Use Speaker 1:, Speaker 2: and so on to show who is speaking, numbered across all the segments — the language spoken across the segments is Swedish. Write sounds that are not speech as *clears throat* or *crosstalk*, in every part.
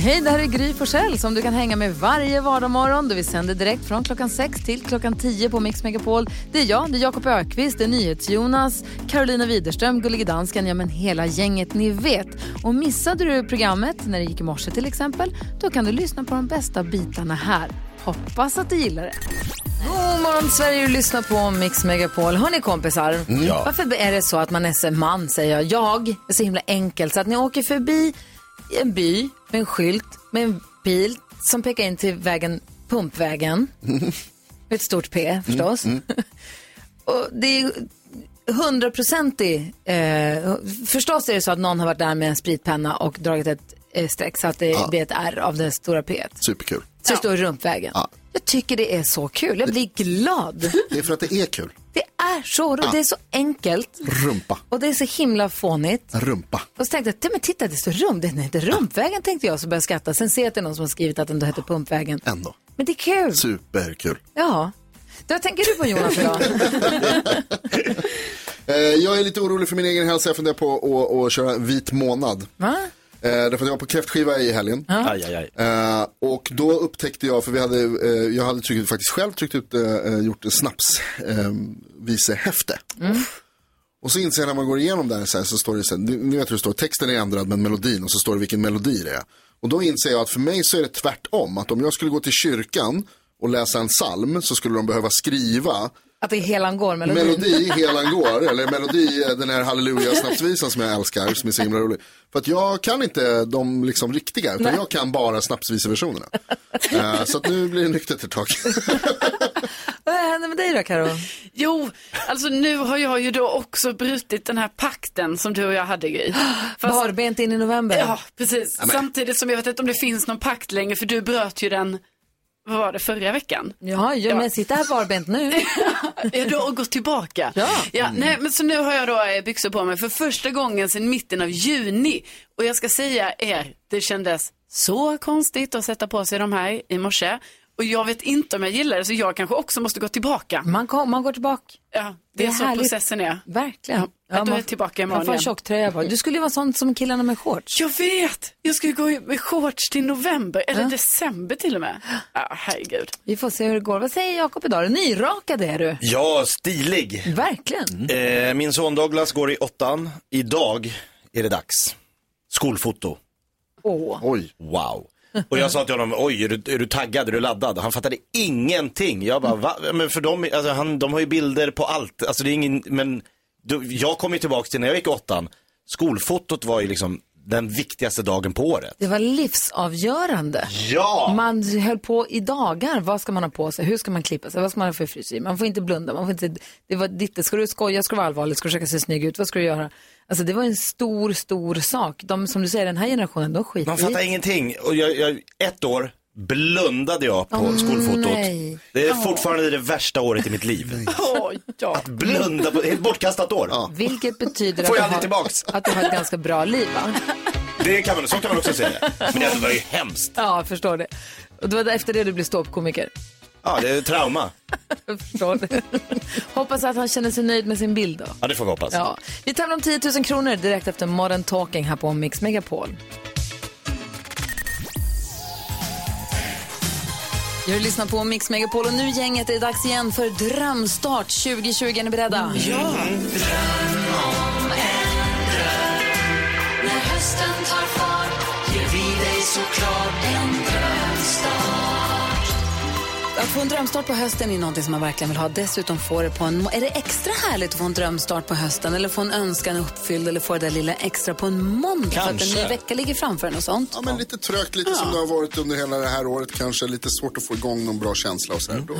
Speaker 1: Hej, det här är Gry Forssell som du kan hänga med varje vardagsmorgon. Vi sänder direkt från klockan 6 till klockan 10 på Mix Megapol. Det är jag, det är Jakob Ökvist, det är NyhetsJonas, Carolina Widerström, Gullige Dansken, ja men hela gänget ni vet. Och missade du programmet när det gick i morse till exempel, då kan du lyssna på de bästa bitarna här. Hoppas att du gillar det. God morgon Sverige, du lyssnar på Mix Megapol. Hörni kompisar, varför är det så att man är så man säger jag, jag är så himla enkel så att ni åker förbi en by med en skylt med en bil som pekar in till vägen Pumpvägen. Med ett stort P förstås. *laughs* Och det är hundraprocentig, eh, förstås är det så att någon har varit där med en spritpenna och dragit ett eh, streck så att det blir ett R av det stora P.
Speaker 2: Superkul.
Speaker 1: Så det står rumpvägen. Jag tycker det är så kul, jag blir glad.
Speaker 2: Det är för att det är kul.
Speaker 1: Det är så roligt, det är så enkelt
Speaker 2: Rumpa.
Speaker 1: och det är så himla fånigt.
Speaker 2: Rumpa.
Speaker 1: Och så tänkte jag, "Nej, men titta det står rump, den heter Rumpvägen tänkte jag, så började jag skratta. Sen ser jag att det är någon som har skrivit att den då heter Pumpvägen.
Speaker 2: Ändå.
Speaker 1: Men det är kul.
Speaker 2: Superkul.
Speaker 1: Ja. Det, vad tänker du på Jonas idag?
Speaker 2: Eh, jag är lite orolig för min egen hälsa. Jag funderar på att, att köra vit månad.
Speaker 1: Va?
Speaker 2: Eh, därför att jag var på kräftskiva i helgen.
Speaker 3: Aj, aj, aj.
Speaker 2: Eh, och då upptäckte jag, för vi hade, eh, jag hade tryckt, faktiskt själv tryckt ut, eh, gjort en snaps eh, visehäfte. Och så inser jag när man går igenom där så, här, så står det, så här, ni ni vet hur det står, texten är ändrad men melodin och så står det vilken melodi det är. Och då inser jag att för mig så är det tvärtom, att om jag skulle gå till kyrkan och läsa en psalm så skulle de behöva skriva
Speaker 1: Att det är Helan går melodin.
Speaker 2: Alltså, melodi Helan går, eller melodi eh, den här halleluja snapsvisan som jag älskar, som är så himla rolig. För att jag kan inte de liksom riktiga, utan jag kan bara snapsviseversionerna. Eh, så att nu blir det nyktert ett tag.
Speaker 1: *laughs* Vad händer med dig då Karo?
Speaker 4: Jo, alltså nu har jag ju då också brutit den här pakten som du och jag hade *gasps* Gry. Fast-
Speaker 1: Barbent in i november.
Speaker 4: Ja, precis. Samtidigt som jag vet inte om det finns någon pakt längre för du bröt ju den, vad var det, förra veckan?
Speaker 1: Ja, ja, men sitta här barbent nu.
Speaker 4: Ja, då *laughs* och gått tillbaka.
Speaker 1: Ja.
Speaker 4: nej, men så nu har jag då eh, byxor på mig för första gången sedan mitten av juni. Och jag ska säga er, det kändes så konstigt att sätta på sig de här i morse. Och jag vet inte om jag gillar det, så jag kanske också måste gå tillbaka.
Speaker 1: Man, kom, man går tillbaka.
Speaker 4: Ja, Mm. det är,
Speaker 1: Det är
Speaker 4: så
Speaker 1: härligt.
Speaker 4: processen är.
Speaker 1: Verkligen.
Speaker 4: Ja, att du är tillbaka imorgon
Speaker 1: Man får en
Speaker 4: igen.
Speaker 1: tjocktröja på. Du skulle ju vara sån som killarna med shorts.
Speaker 4: Jag vet! Jag ska ju gå i- med shorts till november, eller december till och med. Ja, herregud.
Speaker 1: Vi får se hur det går. Vad säger Jakob idag? Nyrakad är du.
Speaker 3: Ja, stilig.
Speaker 1: Verkligen.
Speaker 3: Eh, min son Douglas går i åttan. Idag är det dags. Skolfoto.
Speaker 1: Åh.
Speaker 2: Oj,
Speaker 3: Wow. Och jag sa till honom, oj, är du, är du taggad, är du laddad? Han fattade ingenting. Jag bara, va? Men för dem, alltså, han, de har ju bilder på allt. Alltså det är ingen, men du, jag kom ju tillbaka till när jag gick i åttan. Skolfotot var ju liksom den viktigaste dagen på året.
Speaker 1: Det var livsavgörande.
Speaker 3: Ja!
Speaker 1: Man höll på i dagar. Vad ska man ha på sig? Hur ska man klippa sig? Vad ska man ha för frisyr? Man får inte blunda. Man får inte... Det var ditt. Ska du skoja? Ska du vara allvarlig? Ska du försöka se snygg ut? Vad ska du göra? Alltså det var en stor, stor sak. De som du säger, den här generationen, de skiter
Speaker 3: Man fattar
Speaker 1: i.
Speaker 3: ingenting. Och jag, jag, ett år blundade jag på
Speaker 1: Åh,
Speaker 3: skolfotot.
Speaker 1: nej.
Speaker 3: Det är fortfarande det värsta året i mitt liv.
Speaker 4: Åh, ja.
Speaker 3: Blunda på, ett bortkastat år.
Speaker 1: Vilket betyder
Speaker 3: Får jag
Speaker 1: att,
Speaker 3: aldrig
Speaker 1: du har,
Speaker 3: tillbaks?
Speaker 1: att du har ett ganska bra liv, va?
Speaker 3: Det kan man, så kan man också säga. Men det var ju hemskt.
Speaker 1: Ja, jag förstår det. Och det var efter det du blev ståuppkomiker.
Speaker 3: Ja, det är trauma.
Speaker 1: Jag förstår *laughs* det. Hoppas att han känner sig nöjd med sin bild då.
Speaker 3: Ja, det får vi hoppas.
Speaker 1: Ja. Vi tävlar om 10 000 kronor direkt efter Modern Talking här på Mix Megapol. Jag lyssnar på Mix Megapol och nu gänget är det dags igen för Drömstart 2020. Är ni beredda? Ja! Att få en drömstart på hösten är någonting som man verkligen vill ha. Dessutom får det på en... Är det extra härligt att få en drömstart på hösten? Eller få en önskan uppfylld? Eller få det där lilla extra på en måndag? För att en
Speaker 3: Kanske.
Speaker 1: ny vecka ligger framför en och sånt.
Speaker 2: ja, men lite trögt, lite som det har varit under hela det här året kanske. Lite svårt att få igång någon bra känsla och sådär. Då-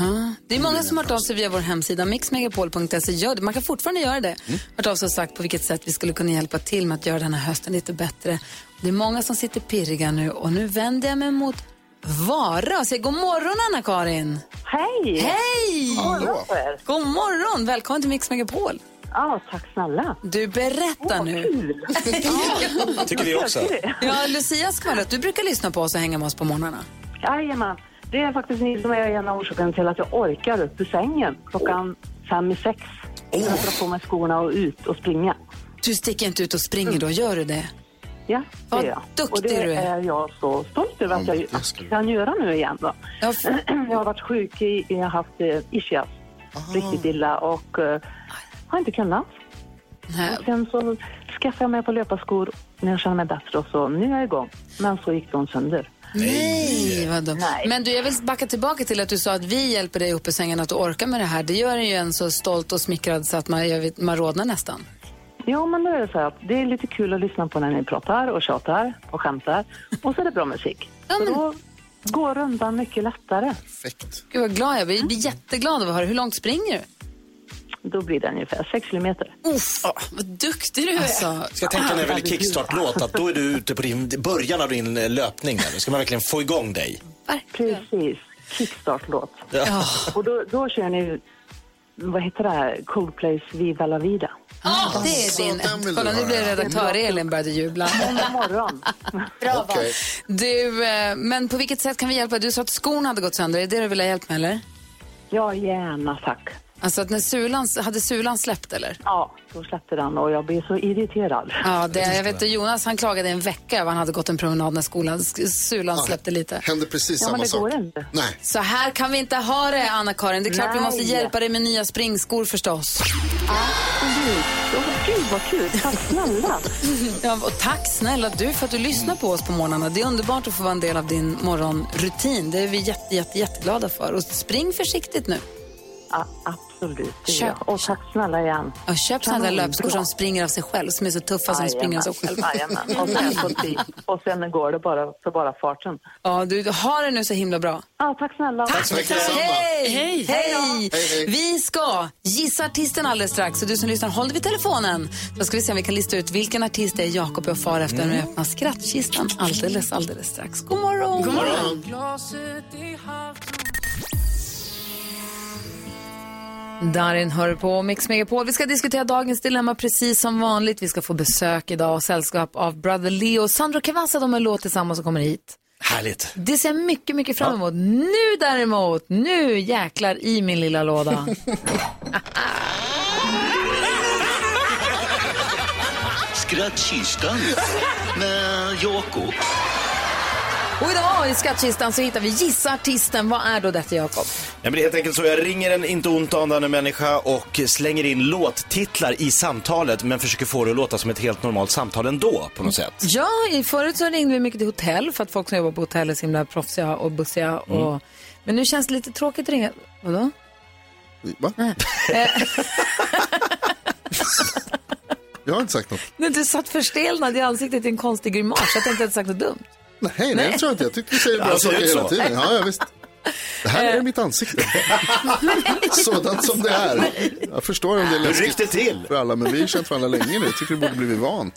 Speaker 1: Det är många som har hört av sig via vår hemsida mixmegapol.se. Gör det. Man kan fortfarande göra det. Hört av sig och sagt på vilket sätt vi skulle kunna hjälpa till med att göra den här hösten lite bättre. Det är många som sitter pirriga nu och nu vänder jag mig mot Vara och säger god morgon Anna-Karin.
Speaker 5: Hej!
Speaker 1: Hej!
Speaker 2: Hallå.
Speaker 1: God morgon! Välkommen till Mix Megapol.
Speaker 5: Ja, tack snälla.
Speaker 1: Du berättar nu.
Speaker 3: Tycker vi också.
Speaker 1: Ja, Lucia skvallrat. Du brukar lyssna på oss och hänga med oss på morgnarna.
Speaker 5: Jajamän. Det är faktiskt ni som är en av orsakerna till att jag orkar upp ur sängen klockan fem i sex. Jag drar på mig skorna och ut och springa.
Speaker 1: Du sticker inte ut och springer då, gör du det?
Speaker 5: Ja, det
Speaker 1: Vad
Speaker 5: gör jag. och
Speaker 1: duktig
Speaker 5: det
Speaker 1: du är.
Speaker 5: är jag så stolt över att
Speaker 2: Ja,
Speaker 5: jag
Speaker 2: det ska du.
Speaker 5: kan göra nu igen. Då.
Speaker 1: Ja, f-
Speaker 5: *clears throat* Jag har varit sjuk, i, jag har haft eh, ischias riktigt illa och eh, har inte kunnat.
Speaker 1: nej.
Speaker 5: Sen så skaffade jag mig på löparskor när jag kände mig bättre och så nu är jag igång. Men så gick de sönder.
Speaker 1: Nej, vad dumt.
Speaker 5: Nej.
Speaker 1: Men du, jag vill backa tillbaka till att du sa att vi hjälper dig upp i sängen att du orkar med det här. Det gör en ju en så stolt och smickrad så att man, jag vet, man rodnar nästan.
Speaker 5: Ja, men då är det så här att det är lite kul att lyssna på när ni pratar och tjatar och skämtar. Och så är det bra musik.
Speaker 1: Ja, men-
Speaker 5: Så då går rundan mycket lättare.
Speaker 2: Perfekt.
Speaker 1: Gud vad glad jag blir. Jag blir jätteglad av att höra. Hur långt springer du?
Speaker 5: Då blir det ungefär 6 kilometer.
Speaker 1: Uff,
Speaker 4: Vad duktig du är.
Speaker 1: alltså,
Speaker 3: Ska jag tänka när jag väljer kickstart-låt att då är du ute på din, början av din eh, löpning. Där. Då ska man verkligen få igång dig.
Speaker 1: verkligen.
Speaker 5: Precis. Kickstart-låt.
Speaker 3: Ja.
Speaker 5: Och då, då kör ni, vad heter det här, Coldplays Viva La Vida.
Speaker 1: Ah, det är
Speaker 2: Alltså, den
Speaker 1: din.
Speaker 2: vill
Speaker 1: Kolla,
Speaker 2: du
Speaker 1: nu
Speaker 2: höra.
Speaker 1: blir redaktör-Elin började jubla.
Speaker 5: God morgon.
Speaker 2: Bra
Speaker 1: Du, eh, men på vilket sätt kan vi hjälpa? Du sa att skorna hade gått sönder. Är det det du vill ha hjälp med, eller?
Speaker 5: Ja, gärna tack.
Speaker 1: Alltså att när sulan, hade sulan släppt, eller?
Speaker 5: Ja, då släppte den och jag blev så irriterad.
Speaker 1: Ja, det, jag vet att Jonas han klagade en vecka över att han hade gått en promenad när skolan, sk- sulan släppte lite.
Speaker 2: Händer precis
Speaker 5: Ja,
Speaker 2: samma
Speaker 5: men det
Speaker 2: sak.
Speaker 5: går inte.
Speaker 2: Nej.
Speaker 1: Så här kan vi inte ha det, Anna-Karin. Det är klart vi måste
Speaker 5: Nej.
Speaker 1: hjälpa dig med nya springskor förstås.
Speaker 5: Absolut. Åh, Gud, vad kul. Tack snälla.
Speaker 1: Ja, och tack snälla du för att du lyssnar på oss på morgnarna. Det är underbart att få vara en del av din morgonrutin. Det är vi jätte, jätte, jätteglada för. Och spring försiktigt nu.
Speaker 5: Ja, absolut. det gör
Speaker 1: Köp.
Speaker 5: jag. Och tack snälla igen.
Speaker 1: Ja, köp sådana där
Speaker 5: Kanon,
Speaker 1: löpskor
Speaker 5: bra.
Speaker 1: som springer av sig själv, som är så tuffa som de Alltså, springer av sig själv.
Speaker 5: Jajamän. Och
Speaker 1: *laughs*
Speaker 5: sen, på tid. och sen går det bara för bara farten.
Speaker 1: Ja, du har det nu så himla bra.
Speaker 5: Ja, tack snälla.
Speaker 2: Så mycket detsamma.
Speaker 1: Hej! Hej!
Speaker 2: hej.
Speaker 1: Vi ska gissa artisten alldeles strax. Så du som lyssnar, håll dig vid telefonen. Då ska vi se om vi kan lista ut vilken artist det är Jakob och far efter när
Speaker 2: Mm.
Speaker 1: vi öppnar skrattkistan alldeles, alldeles strax. God morgon! God morgon! Darin hör på Mix Megapol. Vi ska diskutera dagens dilemma precis som vanligt. Vi ska få besök idag och sällskap av Brother Leo och Sandro Cavazza. De har en låt tillsammans och kommer hit.
Speaker 3: Härligt.
Speaker 1: Det ser jag mycket, mycket fram emot. Nu däremot, nu jäklar i min lilla låda.
Speaker 3: *laughs*
Speaker 6: Skrattkistan med Jakob.
Speaker 1: Och idag i skattkistan så hittar vi Gissa artisten. Vad är då detta Jakob?
Speaker 3: Ja, men det är helt enkelt så, jag ringer en inte ont anande människa och slänger in låttitlar i samtalet men försöker få det att låta som ett helt normalt samtal ändå på något sätt.
Speaker 1: Ja, i förut så ringde vi mycket till hotell för att folk som jobbar på hotell är så himla proffsiga och bussiga. Och... Men nu känns det lite tråkigt att ringa. Vadå?
Speaker 2: Va? *laughs* jag har inte sagt något.
Speaker 1: Men du satt förstelnad i ansiktet i en konstig grimas. Jag tänkte att jag hade sagt något dumt.
Speaker 2: Nej, nej, det tror jag inte. Jag tycker du säger bra
Speaker 3: Alltså, det ser
Speaker 2: saker
Speaker 3: ut
Speaker 2: hela tiden.
Speaker 3: så.
Speaker 2: Ja, ja, visst. Det här är mitt ansikte. *laughs* Sådant som det är. Jag förstår om det är
Speaker 3: Hur ryckte
Speaker 2: läskigt
Speaker 3: till?
Speaker 2: för alla, men vi har känt varandra länge nu. Jag tycker du borde blivit van.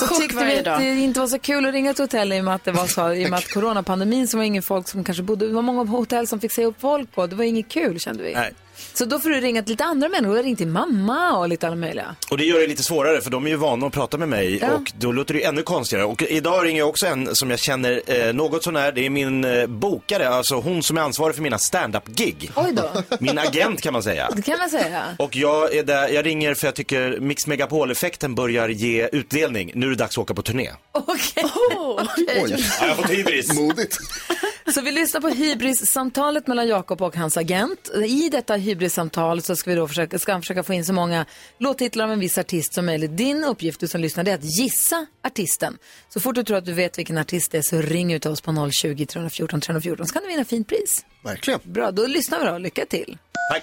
Speaker 1: Så
Speaker 4: chock
Speaker 1: tyckte vi
Speaker 4: varje
Speaker 1: att
Speaker 4: dag.
Speaker 1: det inte var så kul att ringa till hotell i och med att det var så, i och med att coronapandemin så var det ingen folk som kanske bodde, det var många hotell som fick säga upp folk och det var inget kul kände vi.
Speaker 3: Nej.
Speaker 1: Så då får du ringa till lite andra människor, jag har ringt till mamma och lite alla möjliga.
Speaker 3: Och det gör det lite svårare för de är ju vana att prata med mig
Speaker 1: Ja.
Speaker 3: och då låter det ju ännu konstigare. Och idag ringer jag också en som jag känner eh, något sånär, det är min eh, bokare, alltså hon som är ansvarig för mina stand-up-gig.
Speaker 1: Oj då,
Speaker 3: Min agent kan man säga.
Speaker 1: det kan man säga.
Speaker 3: Och jag, är där, jag ringer för jag tycker Mix Megapol-effekten börjar ge utdelning. Nu är det dags att åka på turné.
Speaker 1: *laughs* Okej.
Speaker 2: Oj,
Speaker 3: Ja, jag har fått hybris.
Speaker 2: modigt.
Speaker 1: Så vi lyssnar på hybris-samtalet mellan Jakob och hans agent. I detta hybris-samtal så ska, vi då försöka, ska han försöka få in så många låttitlar av en viss artist som möjligt. Din uppgift, du som lyssnar, det är att gissa artisten. Så fort du tror att du vet vilken artist det är så ring ut till oss på 020-314 314 så kan du vinna fint pris.
Speaker 2: Verkligen.
Speaker 1: Bra, då lyssnar vi då. Lycka till.
Speaker 3: Tack.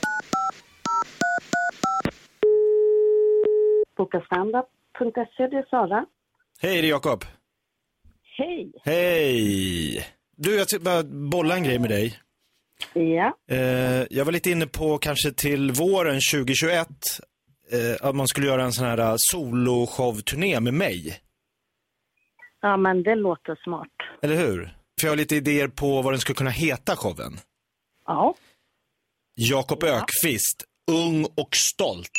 Speaker 5: Boka standup.se, det är Sara.
Speaker 3: Hej, det är Jakob.
Speaker 5: Hej.
Speaker 3: Hej. Du, jag ska bara bolla en grej med dig.
Speaker 5: Ja,
Speaker 3: Eh, jag var lite inne på kanske till våren 2021 eh, att man skulle göra en sån här eh, soloshow-turné med mig.
Speaker 5: ja men det låter smart.
Speaker 3: Eller hur? För jag har lite idéer på vad den skulle kunna heta showen.
Speaker 5: Ja,
Speaker 3: Jakob Ökvist ung och stolt?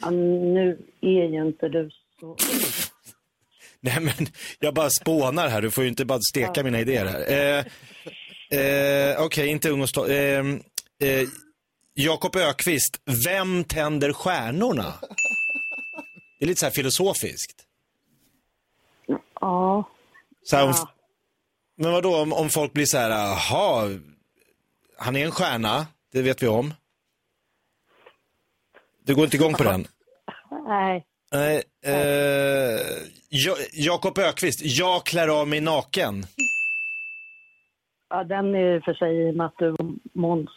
Speaker 5: Ja, nu är ju inte du så...
Speaker 3: Nej men, jag bara spånar här. Du får ju inte bara steka mina idéer här. Eh, eh, Okej, inte ung och stolt. Eh, eh, Jakob Ökvist, vem tänder stjärnorna? Det är lite så här filosofiskt.
Speaker 5: Ja.
Speaker 3: Så här, om, Men vadå om, om folk blir så här, jaha, han är en stjärna, det vet vi om. Du går inte igång på den?
Speaker 5: Nej.
Speaker 3: Nej. Eh, Ja- Jakob Ökvist, jag klär av mig naken.
Speaker 5: Ja, den är i och för sig i och med att du och Måns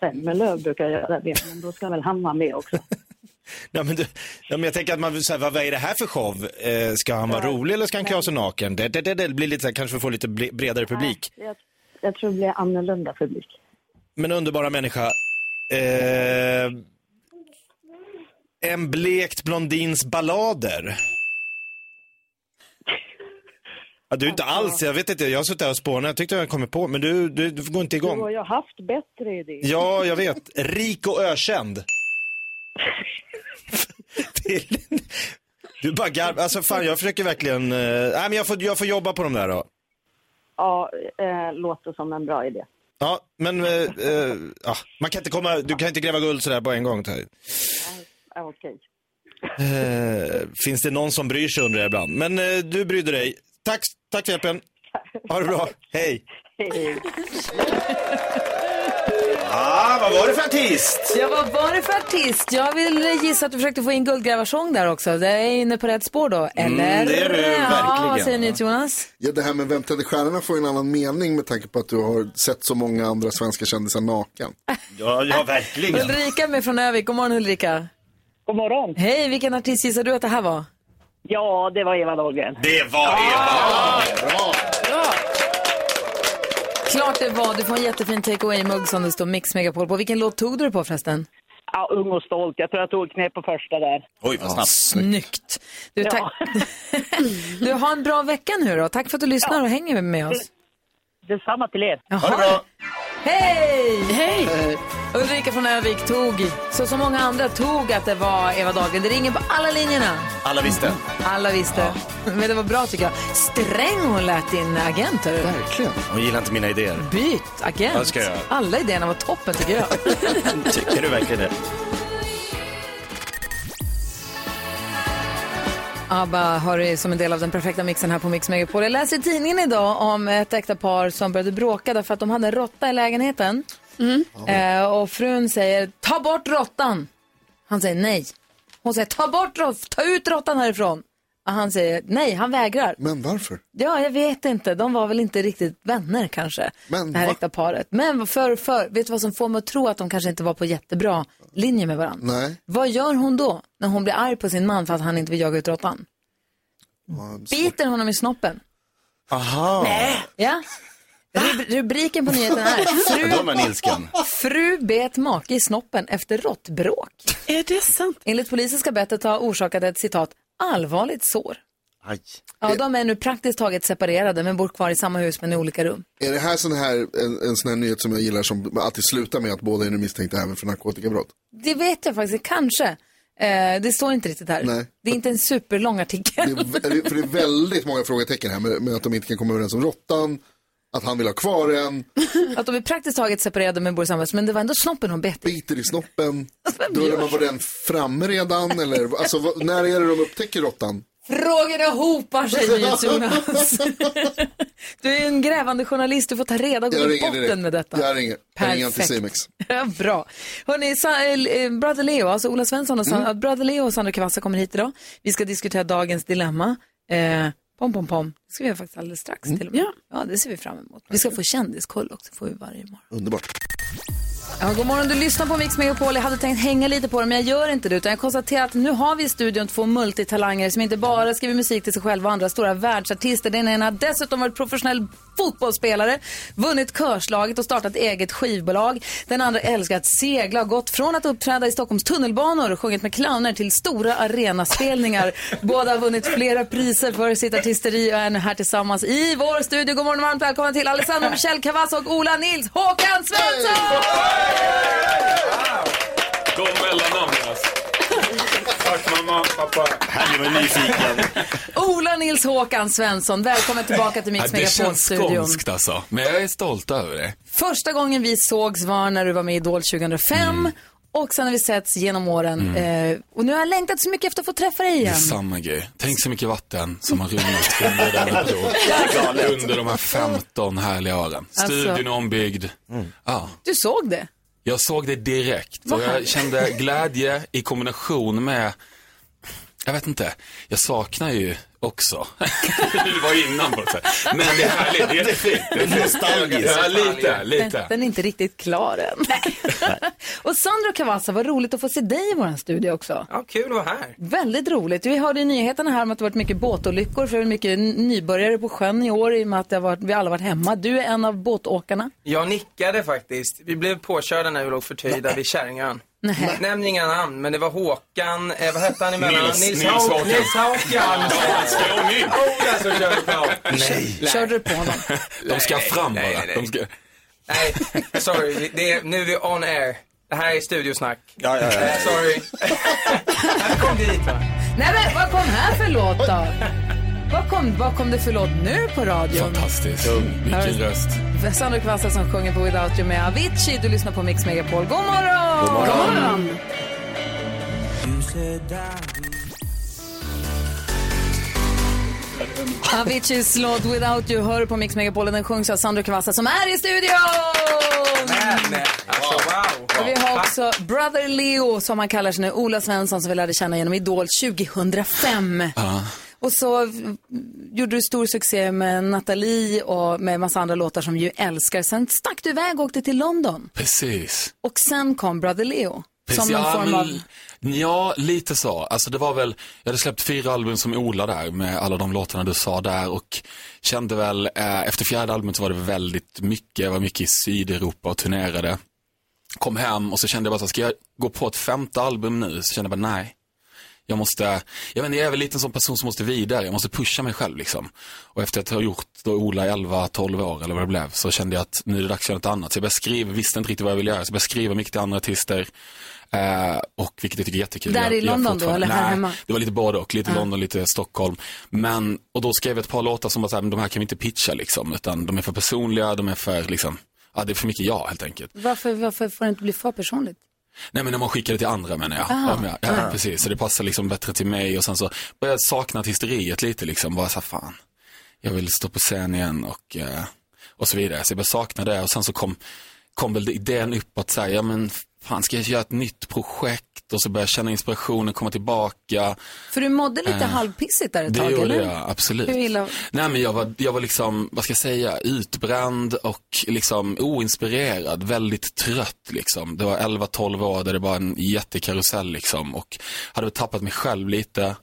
Speaker 5: Zelmerlöw brukar göra det, men då ska väl han vara med
Speaker 1: *laughs*
Speaker 5: också.
Speaker 3: Nej, men, du, ja, men jag tänker att man vill säga, vad, vad är det här för show? Eh, ska han vara rolig eller ska han klä av sig naken? Det, det, det, det blir lite så här, kanske vi får lite ble- bredare publik.
Speaker 5: Jag, jag tror det blir annorlunda publik.
Speaker 3: Men underbara människa. Eh, en blekt blondins ballader. Ja, du är inte alls, jag vet inte, jag har suttit här och spånat, jag tyckte jag kommit på, men du, du, du går inte
Speaker 5: Du har
Speaker 3: igång.
Speaker 5: ju haft bättre idéer.
Speaker 3: Ja, jag vet. Rik och ökänd. Till... Du bara garv... Alltså fan, jag försöker verkligen... eh, Nej, men jag får, jag får jobba på de där då.
Speaker 5: Ja, eh, låter som en bra idé.
Speaker 3: Ja, men eh, eh, ja, man kan inte komma, du kan inte gräva guld sådär på en gång. Terry.
Speaker 5: Ja, Okej.
Speaker 3: Eh, finns det någon som bryr sig undrar jag ibland. Men eh, du brydde dig. Tack, tack för hjälpen. Ha det bra. Hej.
Speaker 5: Hej.
Speaker 3: Ah, vad var det för artist?
Speaker 1: Ja, vad var det för artist? Jag vill gissa att du försökte få in guldgrävarsång där också. Det är inne på rätt spår då, eller?
Speaker 3: Mm, det är du
Speaker 1: Ja, vad
Speaker 3: verkligen.
Speaker 1: säger ni Jonas?
Speaker 2: Ja, det här med Vem tänder stjärnorna får ju en annan mening med tanke på att du har sett så många andra svenska kändisar naken.
Speaker 3: Ja, ja verkligen.
Speaker 1: Ulrika är med från Övik. God morgon Ulrika.
Speaker 5: God morgon.
Speaker 1: Hej, vilken artist gissar du att det här var?
Speaker 5: Ja, det var Eva Dahlgren.
Speaker 3: Det var Eva.
Speaker 1: Klart det var. Du får en jättefin take away-mugg som det står Mix Megapol på. Vilken låt tog du det på förresten?
Speaker 5: Ja, ung och stolt. Jag tror jag tog knä på första där.
Speaker 3: Oj, vad snabbt.
Speaker 1: Snyggt. Du, tack... *laughs* du har en bra vecka nu då. Tack för att du lyssnar och hänger med oss.
Speaker 5: Detsamma till er.
Speaker 3: Ha det bra.
Speaker 1: Hej!
Speaker 4: Hej!
Speaker 1: Ulrika från Övik tog, så som många andra tog att det var Eva Dahlgren. Det ringer på alla linjerna.
Speaker 3: Alla visste.
Speaker 1: Alla visste. Men det var bra tycker jag. Sträng hon lät din agent. hörru.
Speaker 2: Verkligen.
Speaker 3: Hon gillar inte mina idéer.
Speaker 1: Byt
Speaker 3: Vad
Speaker 1: agent.
Speaker 3: ska jag göra?
Speaker 1: Alla idéerna var toppen tycker jag.
Speaker 3: Tycker du verkligen det?
Speaker 1: ABBA har det som en del av den perfekta mixen här på Mix Megapol. Jag läser i tidningen idag om ett äkta par som började bråka därför att de hade en råtta i lägenheten. Eh, och frun säger, ta bort råttan. Han säger nej. Hon säger, ta bort råttan, ta ut råttan härifrån. Och han säger nej, han vägrar.
Speaker 2: Men varför?
Speaker 1: Ja, jag vet inte. De var väl inte riktigt vänner kanske,
Speaker 2: Men
Speaker 1: det här
Speaker 2: va?
Speaker 1: äkta paret. Men för, för, vet du vad som får mig att tro att de kanske inte var på jättebra linje med varandra?
Speaker 2: Nej.
Speaker 1: Vad gör hon då när hon blir arg på sin man för att han inte vill jaga ut råttan? Biter honom i snoppen.
Speaker 3: Aha.
Speaker 1: Ja. Rub- Rubriken på
Speaker 3: *laughs*
Speaker 1: nyheten är
Speaker 3: Då är
Speaker 1: fru,
Speaker 3: man ilsken.
Speaker 1: fru bet make i snoppen efter råttbråk.
Speaker 4: Är det sant?
Speaker 1: Enligt polisen ska bettet ha orsakat ett citat allvarligt sår.
Speaker 3: Aj.
Speaker 1: Ja, de är nu praktiskt taget separerade men bor kvar i samma hus men i olika rum.
Speaker 2: Är det här, sån här en, en sån här nyhet som jag gillar som alltid slutar med att båda är nu misstänkta även för narkotikabrott?
Speaker 1: Det vet jag faktiskt, kanske. Eh, det står inte riktigt här.
Speaker 2: Nej.
Speaker 1: Det är inte en superlång
Speaker 2: Det
Speaker 1: artikel.
Speaker 2: är, vä- för det är väldigt många frågetecken här med, med att de inte kan komma överens om råttan, att han vill ha kvar en,
Speaker 1: Att de är praktiskt taget separerade men bor i samma hus. Men det var ändå snoppen hon bet i.
Speaker 2: biter i snoppen. Då undrar man, var den framme redan? Eller, alltså, vad- när är det de upptäcker råttan?
Speaker 1: Frågorna
Speaker 2: *laughs*
Speaker 1: hopar sig, Jonas. du är en grävande journalist, du får ta reda på
Speaker 2: Jag
Speaker 1: till
Speaker 2: ringer
Speaker 1: botten
Speaker 2: direkt.
Speaker 1: med detta.
Speaker 2: Jag ringer. Jag ringer till Cimex.
Speaker 1: *laughs* Ja, Bra. Hörrni, Sa- eh, Brother Leo, alltså Ola Svensson och Sandra,
Speaker 2: Mm.
Speaker 1: Brother Leo och Sandra Kvassa kommer hit idag. Vi ska diskutera dagens dilemma. Eh, pom, pom, pom. Det ska vi göra faktiskt alldeles strax
Speaker 2: Mm.
Speaker 1: till och med. Ja. det ser vi fram emot. Vi ska få kändiskoll också, får vi varje morgon.
Speaker 2: Underbart.
Speaker 1: Ja, god morgon, du lyssnar på Mix Megapol. Jag hade tänkt hänga lite på dem, men jag gör inte det. Utan jag konstaterar att nu har vi i studion två multitalanger som inte bara skriver musik till sig själva och andra stora världsartister. Den ena har dessutom varit professionell fotbollsspelare, vunnit körslaget och startat eget skivbolag. Den andra älskar att segla och gått från att uppträda i Stockholms tunnelbanor och sjungit med clowner till stora arenaspelningar. Båda har vunnit flera priser för sitt artisteri och är nu här tillsammans i vår studio. God morgon och varmt välkomna till Alessandro Michel Cavazza och Ola Nils Håkan Svensson!
Speaker 7: De mellannamnen alltså. Tack mamma, pappa.
Speaker 3: Här är man nyfiken.
Speaker 1: Ola Nils Håkan Svensson, välkommen tillbaka till Mix
Speaker 7: det känns
Speaker 1: Megapol-studion.
Speaker 7: skånskt alltså. Men jag är stolt över det.
Speaker 1: Första gången vi sågs var när du var med i Idol 2005
Speaker 7: Mm.
Speaker 1: och sen har vi setts genom åren. Eh, och nu har jag längtat så mycket efter att få träffa dig
Speaker 7: Det är
Speaker 1: igen.
Speaker 7: samma grej. Tänk så mycket vatten som har runnit under denna bro. Under de här 15 härliga åren.
Speaker 1: Alltså.
Speaker 7: Studion är ombyggd.
Speaker 8: Mm.
Speaker 7: Ja.
Speaker 1: Du såg det.
Speaker 7: Jag såg det direkt och jag kände glädje i kombination med, jag vet inte, jag saknar ju också. *laughs* det var innan på något sätt. Men det är härligt, det är jättefint. Det är nostalgiskt. Ja, lite,
Speaker 1: Den,
Speaker 7: lite.
Speaker 1: den är inte riktigt klar än. *laughs* och Sandro Cavazza, vad roligt att få se dig i vår studio också.
Speaker 9: Ja, kul att vara här.
Speaker 1: Väldigt roligt. Vi hörde i nyheterna här om att det varit mycket båtolyckor för det är mycket n- nybörjare på sjön i år i och med att det har varit, vi alla varit hemma. Du är en av båtåkarna.
Speaker 9: Jag nickade faktiskt. Vi blev påkörda när vi låg förtöjda vid Käringön.
Speaker 1: Nej.
Speaker 9: Nämn inga namn, men det var Håkan, eh, vad hette han emellan?
Speaker 7: Nils- Nils
Speaker 9: Hau-
Speaker 7: Håkan.
Speaker 9: Nils Håkan.
Speaker 7: Skåning!
Speaker 9: Ola som körde på. Nej.
Speaker 1: Körde du
Speaker 9: *laughs*
Speaker 1: på honom?
Speaker 7: De ska fram
Speaker 9: nej,
Speaker 7: bara.
Speaker 9: nej, nej.
Speaker 7: De ska...
Speaker 9: Nej, sorry. vi- Det är, nu är vi on air. Det här är studiosnack.
Speaker 3: Ja, ja, ja.
Speaker 9: Eh, sorry. här kom dit va?
Speaker 1: Nej men vad kom här för låt då? Vad kom, vad kom det för låt nu på radion?
Speaker 7: Fantastiskt. Vilken röst.
Speaker 1: Sandro Kvassa som sjunger på Without You med Avicii. Du lyssnar på Mix Megapol. God morgon! God
Speaker 4: morgon.
Speaker 1: Aviciis låt Without You hör på Mix Megapol. Den sjungs av Sandro Kvassa som är i studion!
Speaker 9: Men, eh, alltså wow.
Speaker 1: Och vi har också Brother Leo, som han kallar sig nu, Ola Svensson, som vi lärde känna genom Idol 2005. Och så mm, gjorde du stor succé med Nathalie och med massa andra låtar som ju älskar. Sen stack du iväg och åkte till London.
Speaker 7: Precis.
Speaker 1: Och sen kom Brother Leo. Som
Speaker 7: Precis,
Speaker 1: någon
Speaker 7: ja,
Speaker 1: form
Speaker 7: men-
Speaker 1: av...
Speaker 7: Ja, lite så. Alltså det var väl, jag hade släppt fyra album som Ola där med alla de låtarna du sa där och kände väl, eh, efter fjärde albumet så var det väldigt mycket, jag var mycket i Sydeuropa och turnerade. Kom hem och så kände jag bara så här, ska jag gå på ett femte album nu? Så kände jag bara nej. Jag måste, jag vet inte, jag är väl lite en sån person som måste vidare, jag måste pusha mig själv liksom. Och efter att ha gjort då Ola i 11-12 år eller vad det blev, så kände jag att nu är det dags att göra något annat. Så jag började skriva, visste inte riktigt vad jag ville göra, så jag började skriva mycket till andra artister. Eh, och vilket jag tycker är jättekul.
Speaker 1: Där
Speaker 7: Jag-
Speaker 1: i
Speaker 7: jag
Speaker 1: London då,
Speaker 7: fortfarande-
Speaker 1: eller här
Speaker 7: Nej,
Speaker 1: hemma?
Speaker 7: Det var lite både och, lite London, lite Stockholm. Men, och då skrev jag ett par låtar som var såhär, men de här kan vi inte pitcha liksom, utan de är för personliga, de är för liksom, ja det är för mycket jag helt enkelt.
Speaker 1: Varför, varför får det inte bli för personligt?
Speaker 7: Nej men när man skickar det till andra menar jag. Ja, men, ja, precis, så det passar liksom bättre till mig och sen så började jag sakna hysteriet lite liksom, bara så här, fan, jag vill stå på scen igen och, eh, och så vidare. Så jag började sakna det och sen så kom, kom väl idén upp att säga, ja men fan ska jag göra ett nytt projekt och så började jag känna inspirationen, komma tillbaka.
Speaker 1: För du mådde lite halvpissigt där ett
Speaker 7: Äh, Det
Speaker 1: tag,
Speaker 7: gjorde
Speaker 1: eller?
Speaker 7: jag, absolut.
Speaker 1: Hur illa?
Speaker 7: Nej men jag var, jag var liksom, vad ska jag säga, utbränd och liksom oinspirerad, väldigt trött liksom. Det var 11-12 år där det var en jättekarusell liksom och hade väl tappat mig själv lite.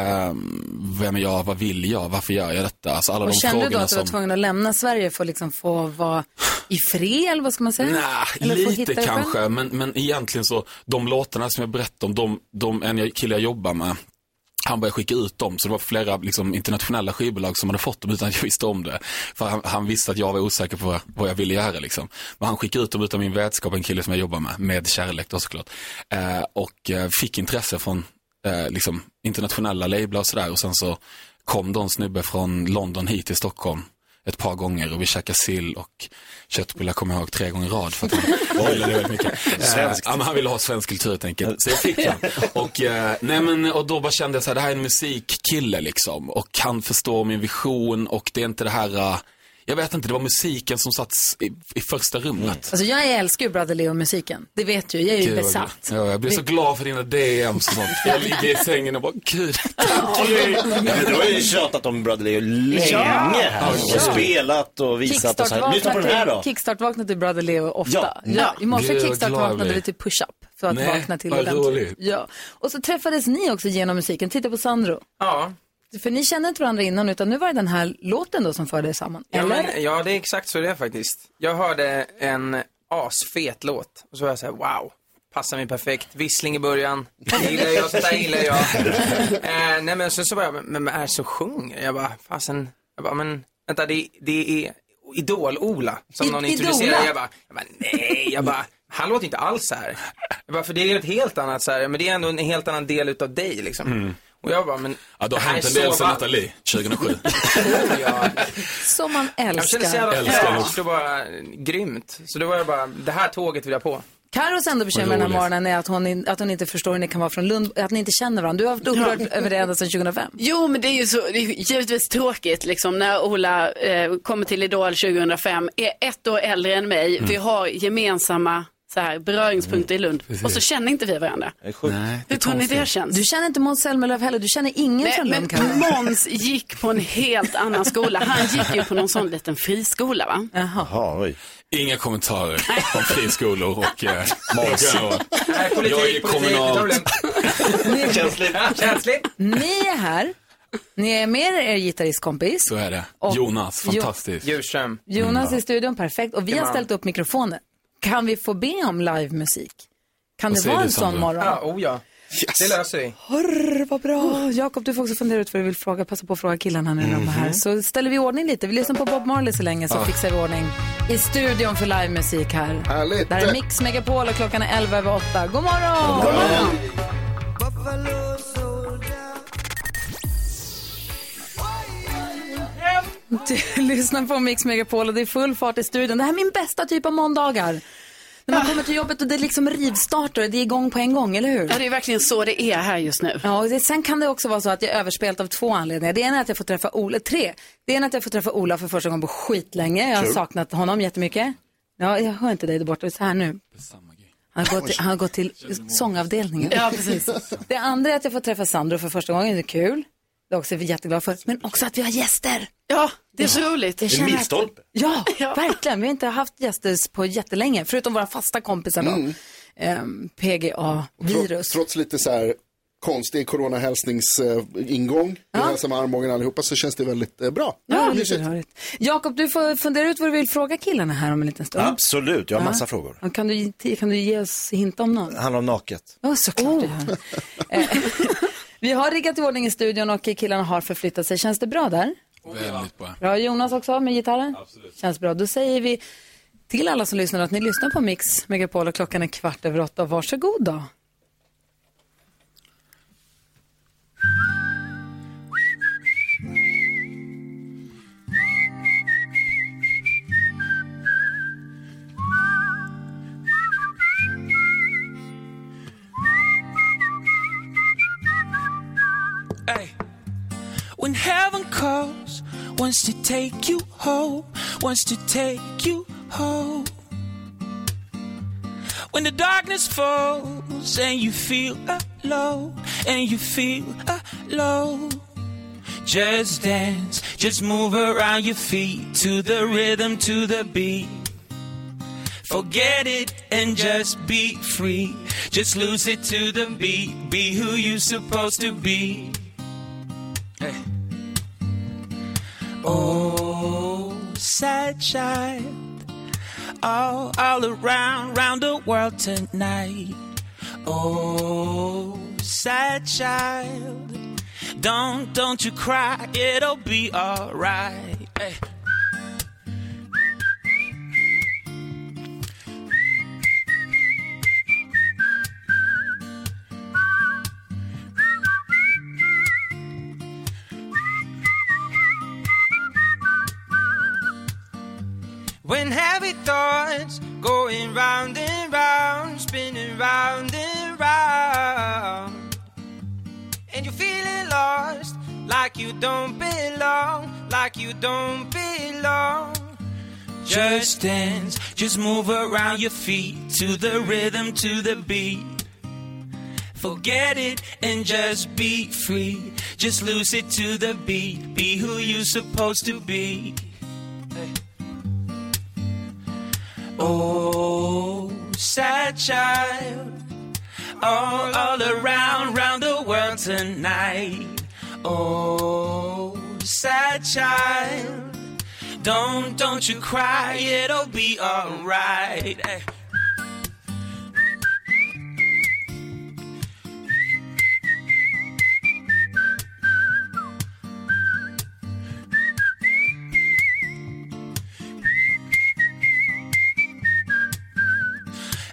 Speaker 7: Ehm, vem är jag, vad vill jag, varför gör jag detta? Alltså alla
Speaker 1: Och
Speaker 7: de
Speaker 1: kände du då
Speaker 7: frågorna
Speaker 1: att du var
Speaker 7: som...
Speaker 1: tvungen att lämna Sverige för att liksom få vara i fred, eller vad ska man säga?
Speaker 7: Nej,
Speaker 1: Eller få hitta
Speaker 7: lite
Speaker 1: dig själv?
Speaker 7: kanske, men, men egentligen så, de låtarna som jag berättade om, de, de en jag- kille jag jobbar med, han började skicka ut dem, så det var flera liksom, internationella skivbolag som hade fått dem utan att jag visste om det. För han, han visste att jag var osäker på vad, vad jag ville göra. Liksom. Men han skickade ut dem utan min vetskap, en kille som jag jobbar med, med kärlek då såklart. Eh, och eh, fick intresse från eh, liksom, internationella lablar och sådär. Och sen så kom de snubbe från London hit till Stockholm ett par gånger och vi käkade sill och köttbullar kommer jag ihåg tre gånger i rad för att han gillade det väldigt mycket.
Speaker 3: Svenskt.
Speaker 7: Eh, ja, men han ville ha svensk kultur helt enkelt. Så jag fick den. Och, eh, nej, men, och då bara kände jag så här, det här är en musikkille liksom. Och han förstår min vision och det är inte det här, eh, jag vet inte, det var musiken som satts i, i första rummet.
Speaker 1: Alltså jag älskar ju Brother Leo-musiken. Det vet du, jag är ju
Speaker 7: Gud, vad
Speaker 1: besatt.
Speaker 7: glad. Ja, jag blir så glad för dina DMs och sånt. Jag ligger i sängen och bara, gud,
Speaker 3: *laughs*
Speaker 7: tack Gry."
Speaker 3: Ja, men du har ju tjatat om Brother Leo länge här. Och spelat och visat och så här. Lyssna på den här då.
Speaker 1: Kickstart-vaknade till Brother Leo ofta.
Speaker 3: Ja.
Speaker 1: I morse
Speaker 7: Gud, vad glad jag
Speaker 1: kickstart-vaknade
Speaker 7: blir.
Speaker 1: vi till push-up för att
Speaker 7: Nej,
Speaker 1: vakna till
Speaker 7: vad
Speaker 1: ordentligt.
Speaker 7: roligt.
Speaker 1: Ja. Och så träffades ni också genom musiken. Titta på Sandro.
Speaker 9: Ja,
Speaker 1: för ni kände inte varandra innan utan nu var det den här låten då som förde er samman.
Speaker 9: Ja,
Speaker 1: Eller?
Speaker 9: men, ja, det är exakt så det är faktiskt. Jag hörde en asfet låt och så var jag så här, wow, passar mig perfekt. Vissling i början, det gillar jag, sånt där gillar jag. eh, nej men sen så var jag, men, men är det som sjunger? Jag bara, fasen, jag bara, men vänta det, det är Idol-Ola som
Speaker 10: I-
Speaker 9: någon
Speaker 10: Idol-Ola?
Speaker 9: introducerade. Jag bara, jag bara, nej, jag bara, han låter inte alls så här. Jag bara, för det är ett helt annat så här, men det är ändå en helt annan del utav dig liksom.
Speaker 7: Mm.
Speaker 9: Och jag bara, men
Speaker 7: Ja, det har
Speaker 9: här
Speaker 7: hänt en
Speaker 9: är
Speaker 7: del
Speaker 9: så
Speaker 7: sedan
Speaker 9: va-
Speaker 7: Nathalie 2007.
Speaker 1: Som man
Speaker 9: Jag
Speaker 1: älskar.
Speaker 9: kände så jävla
Speaker 7: Älskar
Speaker 9: fräscht
Speaker 7: också.
Speaker 9: och bara grymt. Så då var jag bara, det här tåget vill jag på.
Speaker 1: Carros enda bekymmer
Speaker 9: Vad
Speaker 1: den här
Speaker 9: roligt.
Speaker 1: morgonen är att hon, in, att hon inte förstår hur ni kan vara från Lund, att ni inte känner varandra. Du har varit upprörd över det ända sedan 2005.
Speaker 4: Jo, men det är ju så, det är ju givetvis tråkigt liksom, när Ola eh, kommer till Idol 2005, är ett år äldre än mig,
Speaker 7: Mm.
Speaker 4: vi har gemensamma så här, beröringspunkter i Lund
Speaker 7: Precis.
Speaker 4: och så känner inte vi varandra.
Speaker 7: Nej,
Speaker 4: Hur tror ni det känns?
Speaker 1: Du känner inte Måns Zelmerlöw heller, du känner ingen
Speaker 4: Nej,
Speaker 1: från Lund
Speaker 4: men Måns gick på en helt annan skola. Han gick ju på någon sån liten friskola va?
Speaker 7: Inga kommentarer om friskolor och *laughs* eh, morgonshower.
Speaker 9: politik,
Speaker 7: Jag är
Speaker 9: politik,
Speaker 7: kommunal.
Speaker 3: Känsligt.
Speaker 9: Känsligt.
Speaker 1: Ni är här, ni är med er gitarristkompis.
Speaker 7: Så är det.
Speaker 1: Och-
Speaker 7: Jonas,
Speaker 1: Jo-
Speaker 7: fantastisk.
Speaker 9: Djurström.
Speaker 1: Jonas i studion, perfekt. Och vi har
Speaker 9: Come on.
Speaker 1: ställt upp mikrofoner. Kan vi få be om livemusik? Kan det vara en sån morgon?
Speaker 9: Ja, oh ja. Det löser vi.
Speaker 1: Hurr, vad bra! Jakob, du får också fundera ut vad du vill fråga. Passa på att fråga killarna nu när de är här.
Speaker 9: Mhm.
Speaker 1: Så ställer vi i ordning lite. Vi lyssnar på Bob Marley så länge så
Speaker 9: Ah.
Speaker 1: fixar vi ordning i studion för livemusik här.
Speaker 2: Härligt!
Speaker 1: Det här är Mix Megapol och klockan är 11 över 8. God morgon!
Speaker 10: God morgon.
Speaker 1: *laughs* Du lyssnar på Mix Megapol och det är full fart i studion. Det här är min bästa typ av måndagar. När man kommer till jobbet och det är liksom rivstart och det är igång på en gång, eller hur? Ja,
Speaker 4: det är verkligen så det är här just nu.
Speaker 1: Ja, och det, sen kan det också vara så att jag är överspelt av två anledningar. Det ena är att jag får träffa Ola, tre. Det ena är att jag får träffa Ola för första gången på skitlänge. Jag har
Speaker 10: Kul.
Speaker 1: saknat honom jättemycket. Ja, jag hör inte dig där borta, Det är så här nu. Han har, gått till, han har gått till sångavdelningen.
Speaker 4: Ja, precis.
Speaker 1: Det andra är att jag får träffa Sandro för första gången, det är kul. Det är också vi jätteglada för. Men också att vi har gäster.
Speaker 4: Ja, det är så roligt.
Speaker 1: Jag känner att- *laughs* Ja, verkligen. Vi har inte haft gäster på jättelänge, förutom våra fasta kompisar då. Ehm, PGA.
Speaker 2: Virus. Trots lite så här konstig coronahälsningsingång, vi hälsar med armbågen allihopa, så känns det väldigt eh, bra.
Speaker 1: Ja,
Speaker 2: Mysigt.
Speaker 1: lite rörigt. Jakob, du får fundera ut vad du vill fråga killarna här om en liten stund.
Speaker 3: Absolut, jag har massa
Speaker 1: Ja.
Speaker 3: frågor.
Speaker 1: Ja, Kan du, kan du ge oss hint om någon?
Speaker 3: Det handlar om naket.
Speaker 1: Ja, såklart du gör. *laughs* Eh, Vi har riggat i ordning i studion och killarna har förflyttat sig. Känns det bra där?
Speaker 7: Väldigt bra.
Speaker 1: Bra Jonas också med gitarren? Absolut. Känns bra. Då säger vi till alla som lyssnar att ni lyssnar på Mix Megapol och klockan är kvart över åtta. Varsågod då.
Speaker 11: When heaven calls, wants to take you home, wants to take you home. When the darkness falls and you feel alone, and you feel alone. Just dance, just move around your feet to the rhythm, to the beat. Forget it and just be free. Just lose it to the beat. Be who you supposed to be. Hey. Oh, sad child, all, all around, round the world tonight. Oh, sad child, don't, don't you cry, it'll be alright. Hey. When heavy thoughts going round and round, spinning round and round, and you're feeling lost, like you don't belong, like you don't belong. Just dance, just move around your feet to the rhythm, to the beat. Forget it and just be free. Just lose it to the beat. Be who you supposed to be. Oh, sad child, all, all around, round the world tonight. Oh, sad child, don't, don't you cry, it'll be alright. Hey.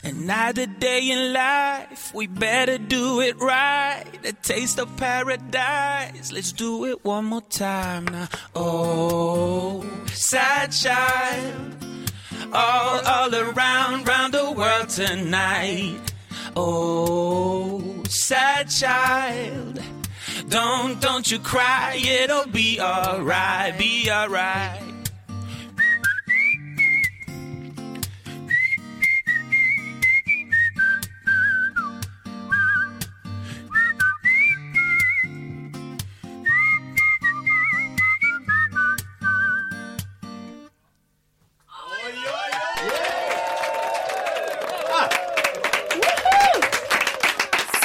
Speaker 11: Another day in life, we better do it right. A taste of paradise, let's do it one more time now. Oh, sad child, all, all around, round the world tonight. Oh, sad child, don't, don't you cry, it'll be alright, be alright.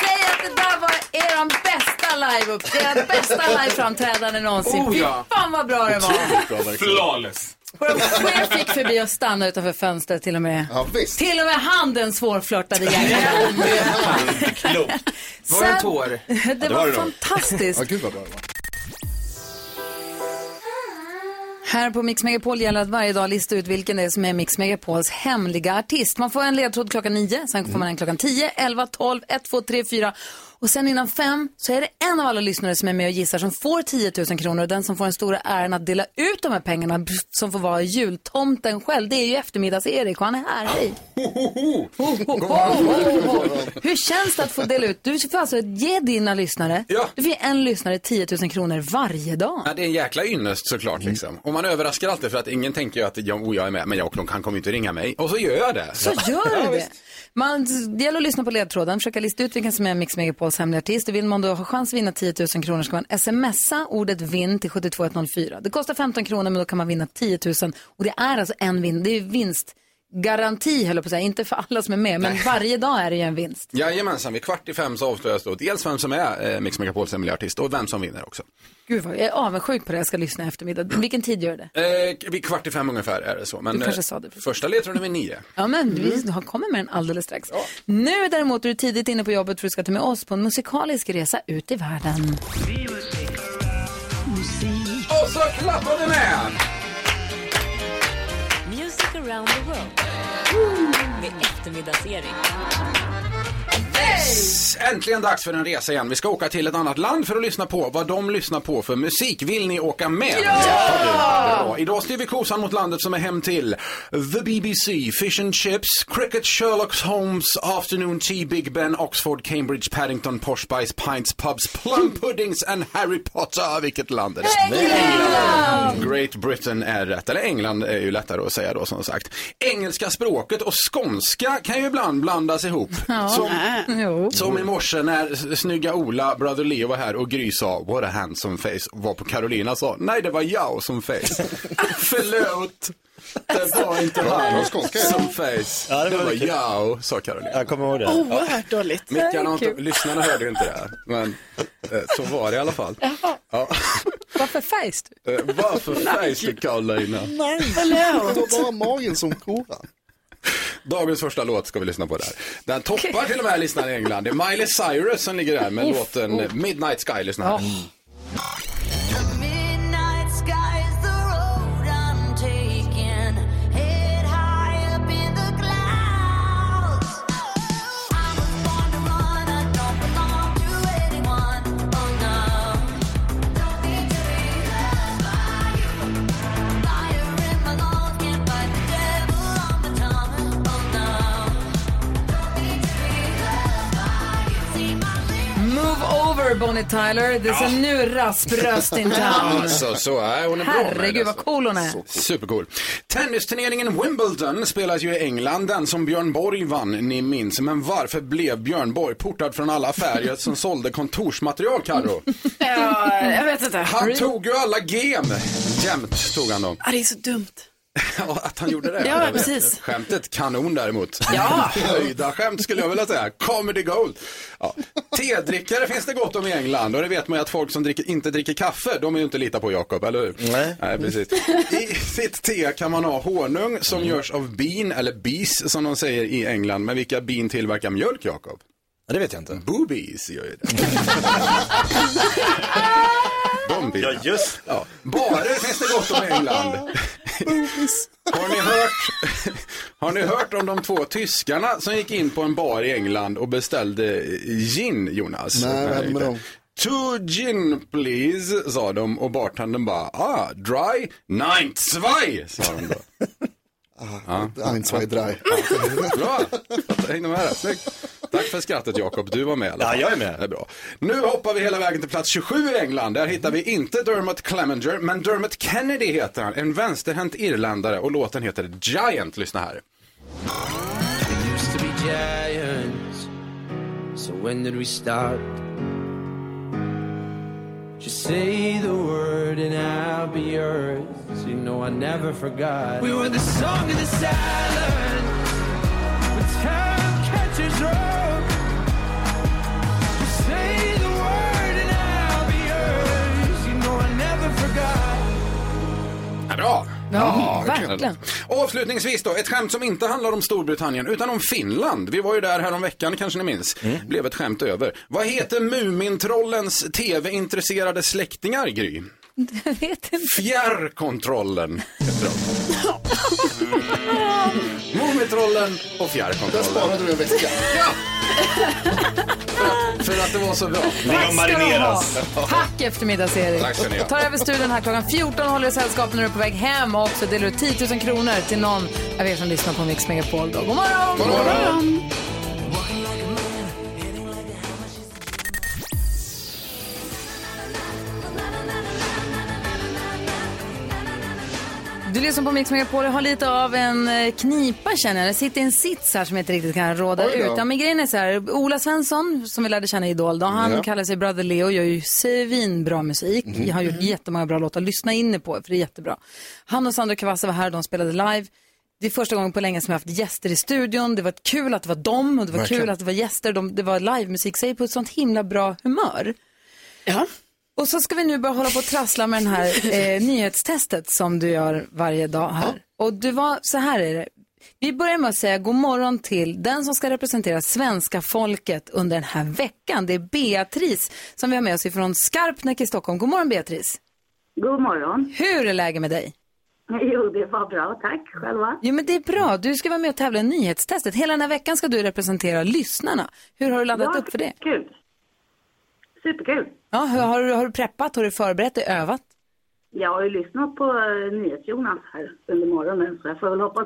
Speaker 1: Säg att det där var er bästa live upp, era bästa liveframträdande någonsin.
Speaker 11: Oh, ja.
Speaker 1: Fy fan vad bra det var.
Speaker 7: Flawless.
Speaker 1: Våra chefer fick förbi och stannade utanför fönstret till och med.
Speaker 2: Ja, visst.
Speaker 1: Till och med handen svårflörtade igen.
Speaker 9: Var det en tår?
Speaker 1: det,
Speaker 2: *laughs*
Speaker 1: var, fantastiskt.
Speaker 2: Ja, gud vad bra det var.
Speaker 1: Här på Mix Megapol gäller att varje dag lista ut vilken det är som är Mix Megapols hemliga artist. Man får en ledtråd klockan nio, sen får man en klockan tio, elva, tolv, ett, två, tre, fyra. Och sen innan fem så är det en av alla lyssnare som är med och gissar som får 10 000 kronor. Och den som får den stora äran att dela ut de här pengarna som får vara jultomten själv, det är ju eftermiddags-Erik och han är här. Hej! Ho, ho, ho, ho. Hur känns det att få dela ut? Du får alltså ge dina lyssnare,
Speaker 10: Ja.
Speaker 1: du får ge en lyssnare 10 000 kronor varje dag.
Speaker 10: Ja, det är en jäkla ynnest
Speaker 1: Mm.
Speaker 10: såklart liksom. Och man överraskar alltid för att ingen tänker ju att jag, oh, jag är med, men jag, han kommer ju inte ringa mig. Och så gör jag det.
Speaker 1: Så gör du det. Man, det gäller att lyssna på ledtråden, försöka lista ut vilken som är Mix Megapols hemliga artist. Och vill man då ha chans att vinna 10 000 kronor ska man smsa ordet vinn till 72104. Det kostar 15 kronor men då kan man vinna 10 000 och det är alltså en vinn, det är vinstgaranti höll jag på att säga, inte för alla som är med men
Speaker 10: Nej.
Speaker 1: varje dag är det ju en vinst.
Speaker 10: Jajamensan, vid kvart i fem så avslöjas då dels vem som är eh, Mix Megapols hemliga artist och vem som vinner också.
Speaker 1: Gud vad, jag är avundsjuk på det, jag ska lyssna i eftermiddag. Vilken tid gör det?
Speaker 10: Eh, vid kvart i fem ungefär är det så. Men
Speaker 1: Du kanske
Speaker 10: eh,
Speaker 1: sa det
Speaker 10: första ledtråden är vid nio.
Speaker 1: Ja men vi har- kommer med den alldeles strax. Nu däremot är du tidigt inne på jobbet för att du ska ta med oss på en musikalisk resa ut i världen.
Speaker 10: Och så klappar vi med!
Speaker 12: Music around the world. Med eftermiddagsserie.
Speaker 10: Yes! Äntligen dags för en resa igen. Vi ska åka till ett annat land för att lyssna på vad de lyssnar på för musik. Vill ni åka med? Ja! Bra. Idag styr vi kosan mot landet som är hem till The BBC, Fish and Chips, Cricket, Sherlock Holmes, Afternoon Tea, Big Ben, Oxford, Cambridge, Paddington, Posh Spice, Pints, Pubs, Plum Puddings and Harry Potter. Vilket land är det?
Speaker 11: England!
Speaker 10: Great Britain är rätt. Eller England är ju lättare att säga då som sagt. Engelska språket och skånska kan ju ibland blandas ihop.
Speaker 1: Ja.
Speaker 10: Som,
Speaker 1: jo.
Speaker 10: som i morse när s- snygga Ola, Brother Leo var här och Gry sa what a handsome face. Var på Carolina sa nej det var jag
Speaker 3: *laughs*
Speaker 10: som face. Förlåt. Det var inte han som face.
Speaker 3: Ja, det
Speaker 10: det,
Speaker 3: var
Speaker 10: var,
Speaker 3: kul.
Speaker 10: jag sa Carolina. Jag
Speaker 3: kommer ihåg det.
Speaker 4: Oerhört dåligt.
Speaker 10: Mickarna har inte, lyssnarna hörde ju inte det, men eh, så var det i alla fall.
Speaker 1: Jaha,
Speaker 10: Ja. *laughs*
Speaker 1: varför fejs du?
Speaker 10: Eh, Varför face du Carolina?
Speaker 2: Nej,
Speaker 1: Förlåt.
Speaker 2: det var bara magen som koran.
Speaker 10: Dagens första låt ska vi lyssna på där. Den toppar till och med listan i England. Det är Miley Cyrus som ligger där med
Speaker 11: Uff,
Speaker 10: låten
Speaker 11: uff.
Speaker 10: Midnight Sky. Lyssna här.
Speaker 12: Midnight sky is the road I'm taking. Head high up in the clouds. I was born to run. I don't belong to anyone. Oh no. Don't need to be loved by you. Fire in my lungs can't fight the devil on my tongue. Oh no. Don't need to be loved by you. See my
Speaker 1: Move over Bonnie Tyler, det ser nu raspröst in town.
Speaker 10: Alltså, så är hon är bra med det,
Speaker 1: Herregud vad
Speaker 10: alltså.
Speaker 1: cool hon är.
Speaker 10: Supercool. Tennisturneringen Wimbledon spelas ju i England, den som Björn Borg vann, ni minns. Men varför blev Björn Borg portad från alla affärer som *laughs* sålde kontorsmaterial, Carro?
Speaker 4: Ja, jag vet inte.
Speaker 10: Han tog ju alla gem. Jämt tog han dem.
Speaker 4: Ja, det är så dumt.
Speaker 10: att han gjorde det.
Speaker 4: Ja,
Speaker 10: Jag vet.
Speaker 4: precis.
Speaker 10: Skämtet kanon däremot.
Speaker 4: Ja.
Speaker 10: *laughs* Höjda skämt skulle jag vilja säga. Comedy gold. Ja. Tedrickare finns det gott om i England och det vet man ju att folk som dricker, inte dricker kaffe, de är ju inte att lita på Jakob, eller hur? Nej. Nej, precis. I sitt te kan man ha honung som görs av bin, eller bees som de säger i England. Men vilka bin tillverkar mjölk, Jakob?
Speaker 3: Ja, det vet jag inte.
Speaker 10: Boobies gör ju det. De bilarna.
Speaker 3: Ja, just
Speaker 10: ja. Barer finns det gott om i England. Har ni, hört, har ni hört om de två tyskarna som gick in på en bar i England och beställde gin, Jonas?
Speaker 2: Nej, vad hände med
Speaker 10: inte.
Speaker 2: dem?
Speaker 10: Two gin please, sa de och bartendern bara, ah, dry, nine zwei, sa de då. Ja.
Speaker 2: Ein, zwei,
Speaker 1: *laughs*
Speaker 2: drei.
Speaker 10: Bra, jag hängde med här. Snyggt. Tack för skrattet Jakob, du var med i alla fall.
Speaker 3: Ja, jag är med.
Speaker 10: Det är bra. Nu hoppar vi hela vägen till plats 27 i England. Där hittar vi inte Dermot Clemenger, men Dermot Kennedy heter han. En vänsterhänt irländare och låten heter Giant. Lyssna här.
Speaker 11: used to be giants. So when did we start? Just say the word and I'll be yours. You know I never forgot. We were the song of the silence. Return catchers rope. Just say the word and I'll be yours. You know I never forgot.
Speaker 10: Ja, bra!
Speaker 11: Ja,
Speaker 10: kul.
Speaker 11: verkligen.
Speaker 10: Avslutningsvis då, ett skämt som inte handlar om Storbritannien utan om Finland. Vi var ju där häromveckan kanske ni minns.
Speaker 3: Mm.
Speaker 10: Blev ett skämt över. Vad heter Mumintrollens tv-intresserade släktingar, Gry?
Speaker 1: Jag vet inte.
Speaker 10: Fjärrkontrollen heter de. Mumintrollen och fjärrkontrollen. Där sparade du en vecka. Ja! för, att, för att det var så bra.
Speaker 1: Tack ska du ha. Tack eftermiddags-Erik.
Speaker 10: Tack ska ni ha.
Speaker 1: Tar över studion här klockan 14, håller i sällskap när du är på väg hem och också delar ut 10 000 kronor till någon av er som lyssnar på Mix Megapol. Då. God morgon!
Speaker 12: God morgon!
Speaker 1: Du lyssnar på Mix Megapol och har lite av en eh, knipa känner jag. Det sitter en sits här som jag inte riktigt kan råda
Speaker 13: Oj då.
Speaker 1: ut. Ja, men grejen är så här, Ola Svensson som vi lärde känna i Idol, då, han
Speaker 13: Ja.
Speaker 1: kallar sig Brother Leo, gör ju svinbra musik.
Speaker 13: Mhm.
Speaker 1: Jag har gjort jättemånga bra låtar, lyssna in er på för det är jättebra. Han och Sandro Cavazza var här och de spelade live. Det är första gången på länge som jag haft gäster i studion. Det var kul att det var dem och det var
Speaker 13: Verkligen.
Speaker 1: kul att det var gäster. De, det var livemusik, sig på ett sånt himla bra humör.
Speaker 4: Ja.
Speaker 1: Och så ska vi nu börja hålla på och trassla med det här eh, nyhetstestet som du gör varje dag här. Och du var, så här är det. Vi börjar med att säga god morgon till den som ska representera svenska folket under den här veckan. Det är Beatrice som vi har med oss ifrån Skarpnäck i Stockholm. God morgon Beatrice.
Speaker 13: God morgon.
Speaker 1: Hur är läget med dig?
Speaker 13: Jo, det var bra. Tack själva.
Speaker 1: Jo men det är bra. Du ska vara med och tävla i nyhetstestet. Hela den här veckan ska du representera lyssnarna. Hur har du laddat
Speaker 13: Ja,
Speaker 1: upp för det?
Speaker 13: Kul. Superkul.
Speaker 1: Ja, hur, har, du, har du preppat? Har du förberett dig? Övat?
Speaker 13: Jag har ju lyssnat på eh, NyhetsJonas här under morgonen så jag får väl hoppas.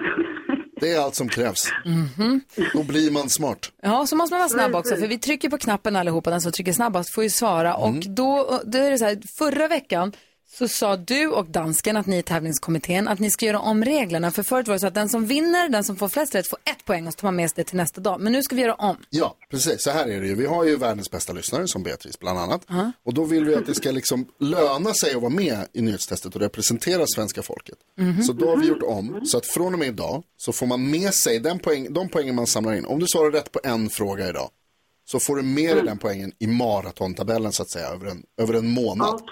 Speaker 2: Det är allt som krävs.
Speaker 12: Mhm.
Speaker 2: Då blir man smart.
Speaker 1: Ja, så måste man vara snabb också,
Speaker 13: Precis.
Speaker 1: för vi trycker på knappen allihopa, den som trycker snabbast får ju svara. Och
Speaker 2: Mm.
Speaker 1: då, då är det så här, förra veckan så sa du och dansken att ni i tävlingskommittén att ni ska göra om reglerna. För förut var det så att den som vinner, den som får flest rätt får ett poäng och så tar man med sig det till nästa dag. Men nu ska vi göra om.
Speaker 2: Ja, precis. Så här är det ju. Vi har ju världens bästa lyssnare som Beatrice bland annat. Och då vill vi att det ska liksom löna sig att vara med i nyhetstestet och representera svenska folket.
Speaker 12: Mhm.
Speaker 2: Så då har vi gjort om så att från och med idag så får man med sig den poäng, de poängen man samlar in. Om du svarar rätt på en fråga idag så får du med dig den poängen i maratontabellen så att säga över en, över en månad.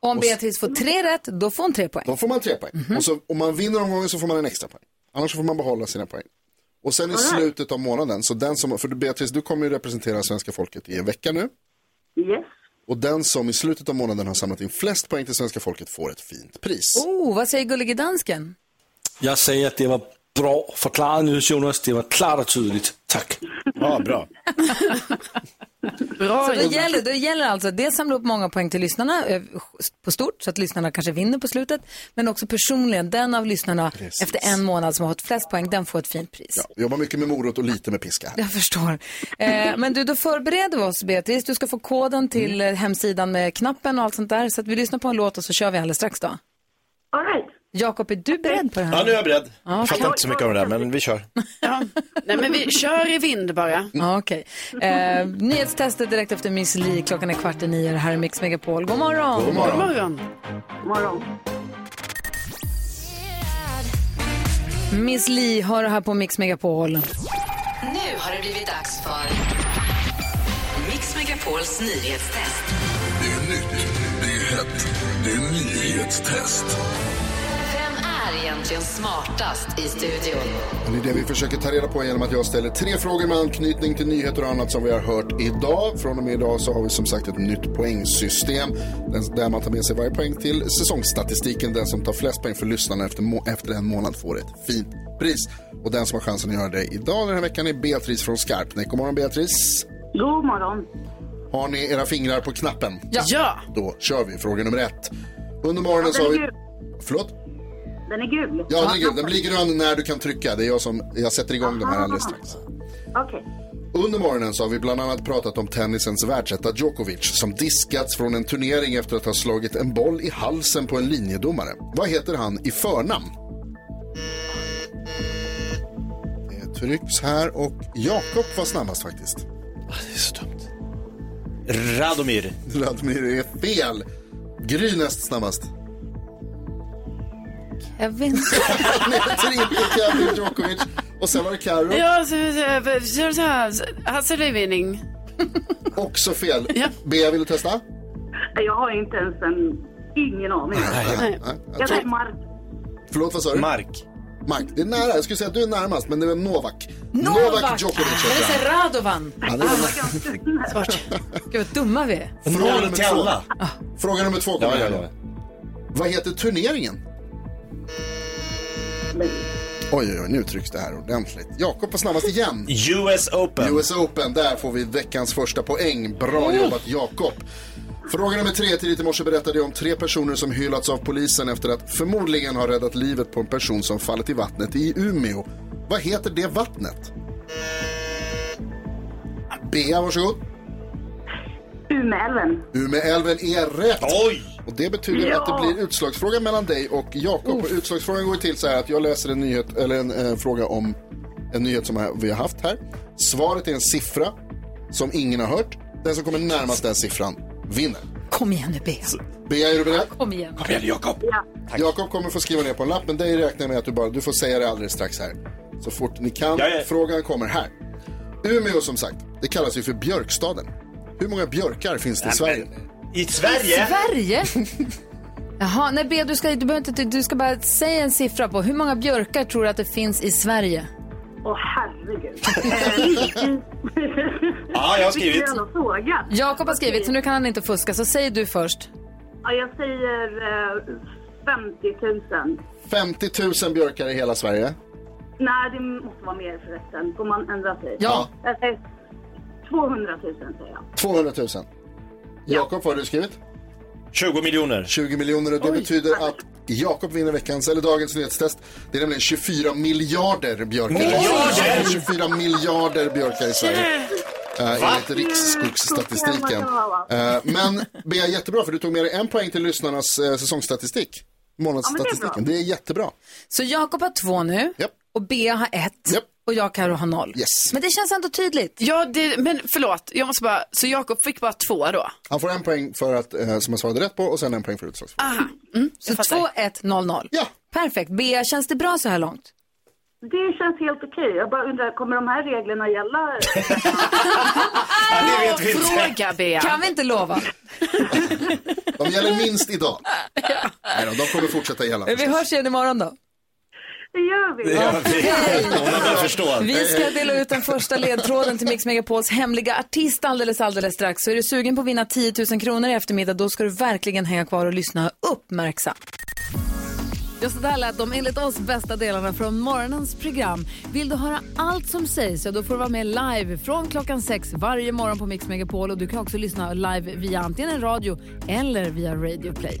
Speaker 1: Och om
Speaker 2: Och s-
Speaker 1: Beatrice får tre rätt, då får hon tre poäng.
Speaker 2: Då får man tre poäng. Och så, om man vinner omgången så får man en extra poäng. Annars så får man behålla sina poäng. Och sen i
Speaker 13: Alright.
Speaker 2: slutet av månaden, så den som, för Beatrice du kommer ju representera svenska folket i en vecka nu.
Speaker 13: Yes.
Speaker 2: Och den som i slutet av månaden har samlat in flest poäng till svenska folket får ett fint pris.
Speaker 1: Oh, vad säger gullige dansken?
Speaker 14: Jag säger att det var bra förklarat nu Jonas. Det var klart och tydligt. Tack.
Speaker 3: Ja, bra.
Speaker 1: så det gäller, det gäller alltså att dels samla upp många poäng till lyssnarna eh, på stort, så att lyssnarna kanske vinner på slutet. Men också personligen, den av lyssnarna
Speaker 2: Precis.
Speaker 1: efter en månad som har fått flest poäng, den får ett fint pris.
Speaker 2: Ja, vi jobbar mycket med morot och lite med piska. här.
Speaker 1: Jag förstår. Eh, men du, då förbereder vi oss, Beatrice. Du ska få koden till
Speaker 2: Mm.
Speaker 1: eh, hemsidan med knappen och allt sånt där. Så att vi lyssnar på en låt och så kör vi alldeles strax då.
Speaker 13: All right.
Speaker 1: Jakob, är du beredd på det här?
Speaker 3: Ja, nu är jag beredd.
Speaker 1: Ja,
Speaker 3: Jag fattar
Speaker 1: okej.
Speaker 3: inte så mycket om det där, men vi
Speaker 1: *laughs*
Speaker 3: kör.
Speaker 14: Ah,
Speaker 4: Nej, men vi kör i vind bara.
Speaker 1: Ja, okej. Eh, nyhetstestet direkt efter Miss Li. Klockan är kvart i nio. Det här är Mix Megapol. God morgon!
Speaker 4: God morgon.
Speaker 13: God morgon.
Speaker 1: Miss Li har det här på Mix Megapol.
Speaker 15: Nu har det blivit dags för Mix Megapols nyhetstest.
Speaker 16: Det är nytt, det är hett, det är nyhetstest.
Speaker 15: Vem är egentligen smartast i studion?
Speaker 2: Och Det är det vi försöker ta reda på genom att jag ställer tre frågor med anknytning till nyheter och annat som vi har hört idag. Från och med idag så har vi som sagt ett nytt poängsystem Den- där man tar med sig varje poäng till säsongsstatistiken. Den som tar flest poäng för lyssnarna efter, må- efter en månad får ett fint pris. Och den som har chansen att göra det idag den här veckan är Beatrice från Skarpnäck. God morgon Beatrice!
Speaker 13: God morgon!
Speaker 2: Har ni era fingrar på knappen?
Speaker 13: Ja. Ja.
Speaker 2: Då kör vi fråga nummer ett. Under morgonen så har vi... Förlåt?
Speaker 13: Den är gul.
Speaker 2: Ja, den, är grön. den blir grön när du kan trycka. Det är jag som jag sätter igång de här alldeles strax.
Speaker 13: Okej.
Speaker 2: Under morgonen så har vi bland annat pratat om tennisens världsetta Djokovic som diskats från en turnering efter att ha slagit en boll i halsen på en linjedomare. Vad heter han i förnamn? Det trycks här och Jakob var snabbast faktiskt. Det är så dumt.
Speaker 3: Radomir.
Speaker 2: Radomir är fel. Gry näst snabbast.
Speaker 1: Kevin.
Speaker 2: Kevin Djokovic. Och sen var det Carro.
Speaker 4: Ja, så, så, så, så här. Hasse Rövinning.
Speaker 2: Också fel. Bea, vill du testa?
Speaker 13: Jag har inte ens en... Ingen aning.
Speaker 2: Nej.
Speaker 13: Jag säger Mark.
Speaker 2: Förlåt, vad sa du?
Speaker 3: Mark.
Speaker 2: Mark. Det är nära. Jag skulle säga att du är närmast, men det var Novak.
Speaker 1: *laughs* Novak!
Speaker 2: Djokovic
Speaker 1: Eller
Speaker 2: heter
Speaker 1: säger
Speaker 2: han.
Speaker 1: Radovan.
Speaker 2: Ja, det var-
Speaker 1: Svårt. Gud vad dumma vi är.
Speaker 2: Fråga nummer två. Fråga nummer två kommer här. Vad heter turneringen? Oj, oj, oj, nu trycks det här ordentligt. Jakob på snabbast igen.
Speaker 3: US Open.
Speaker 2: US Open, där får vi veckans första poäng. Bra
Speaker 3: Mm.
Speaker 2: jobbat Jakob. Fråga nummer tre. Tidigt i morse berättade jag om tre personer som hyllats av polisen efter att förmodligen ha räddat livet på en person som fallit i vattnet i Umeå. Vad heter det vattnet? Bea, varsågod.
Speaker 13: Umeälven.
Speaker 2: Umeälven är rätt.
Speaker 3: Oj!
Speaker 2: Och det betyder
Speaker 13: Ja.
Speaker 2: att det blir utslagsfråga mellan dig och Jakob. Och Utslagsfrågan går till så här att jag läser en nyhet, eller en eh, fråga om en nyhet som vi har haft här. Svaret är en siffra som ingen har hört. Den som kommer närmast den siffran vinner.
Speaker 1: Kom igen nu Bea.
Speaker 2: Bea, är du beredd?
Speaker 1: Kom igen.
Speaker 2: Kom igen Jakob! Jakob kommer få skriva ner på en lapp, men dig räknar jag med att du bara, du får säga det alldeles strax här. Så fort ni kan. Frågan kommer här. Umeå som sagt, det kallas ju för björkstaden. Hur många björkar finns det i Sverige?
Speaker 3: I
Speaker 1: Sverige? Jaha, nej Bea, du ska, du, behöver inte, du ska bara säga en siffra på hur många björkar tror du att det finns i Sverige?
Speaker 13: Åh, herregud. Eh, *laughs*
Speaker 3: Ja, jag har skrivit.
Speaker 13: Vilken jävla fråga.
Speaker 1: Jakob har skrivit, så nu kan han inte fuska, så säg du först.
Speaker 13: Ja, jag säger eh, 50 000.
Speaker 2: 50 000 björkar i hela Sverige.
Speaker 13: Nej, det måste vara mer förresten. Får man ändra sig?
Speaker 2: Ja.
Speaker 13: Jag säger 200 000 säger jag.
Speaker 2: 200 000. Jakob, vad har du skrivit?
Speaker 3: 20 miljoner.
Speaker 2: 20 miljoner och det betyder att Jakob vinner veckans, eller dagens nyhetstest. Det är nämligen 24 miljarder björkar.
Speaker 3: Miljarder?
Speaker 2: 24 miljarder björkar i Sverige. Uh,
Speaker 3: Va?
Speaker 2: enligt Riksskogsstatistiken. Eh, men Bea, jättebra för du tog med dig en poäng till lyssnarnas eh, säsongsstatistik. Månadsstatistiken.
Speaker 1: Ja, men
Speaker 2: det,
Speaker 1: det
Speaker 2: är jättebra.
Speaker 1: Så Jakob har två nu och Bea har ett och jag Karo har noll. Men det känns ändå tydligt.
Speaker 4: Ja, det, men förlåt. Jag måste bara, så Jakob fick bara två då?
Speaker 2: Han får en poäng för att, eh, som han svarade rätt på och sen en poäng för utslagsfrågan.
Speaker 1: Ah.
Speaker 4: Aha.
Speaker 1: Så 2-1-0-0.
Speaker 2: Ja.
Speaker 1: Perfekt. Bea, känns det bra så här långt?
Speaker 13: Det känns helt okej. Jag bara undrar, kommer de här
Speaker 2: *laughs*
Speaker 13: reglerna gälla?
Speaker 4: vet vi inte. Fråga, Bea.
Speaker 1: Kan vi inte lova?
Speaker 2: De gäller minst
Speaker 1: *laughs*
Speaker 2: idag. Nej då, de kommer fortsätta gälla.
Speaker 1: Vi hörs igen imorgon då.
Speaker 13: Det gör
Speaker 2: Det gör vi. Hon har börjat förstå.
Speaker 1: Vi ska dela ut den första ledtråden till Mix Megapols hemliga artist alldeles, alldeles strax. Så är du sugen på att vinna 10 000 kronor i eftermiddag, då ska du verkligen hänga kvar och lyssna uppmärksamt. Just det här lät de enligt oss bästa delarna från morgonens program. Vill du höra allt som sägs, ja, då får du vara med live från klockan sex varje morgon på Mix Megapol. Och du kan också lyssna live via antingen radio eller via Radio Play.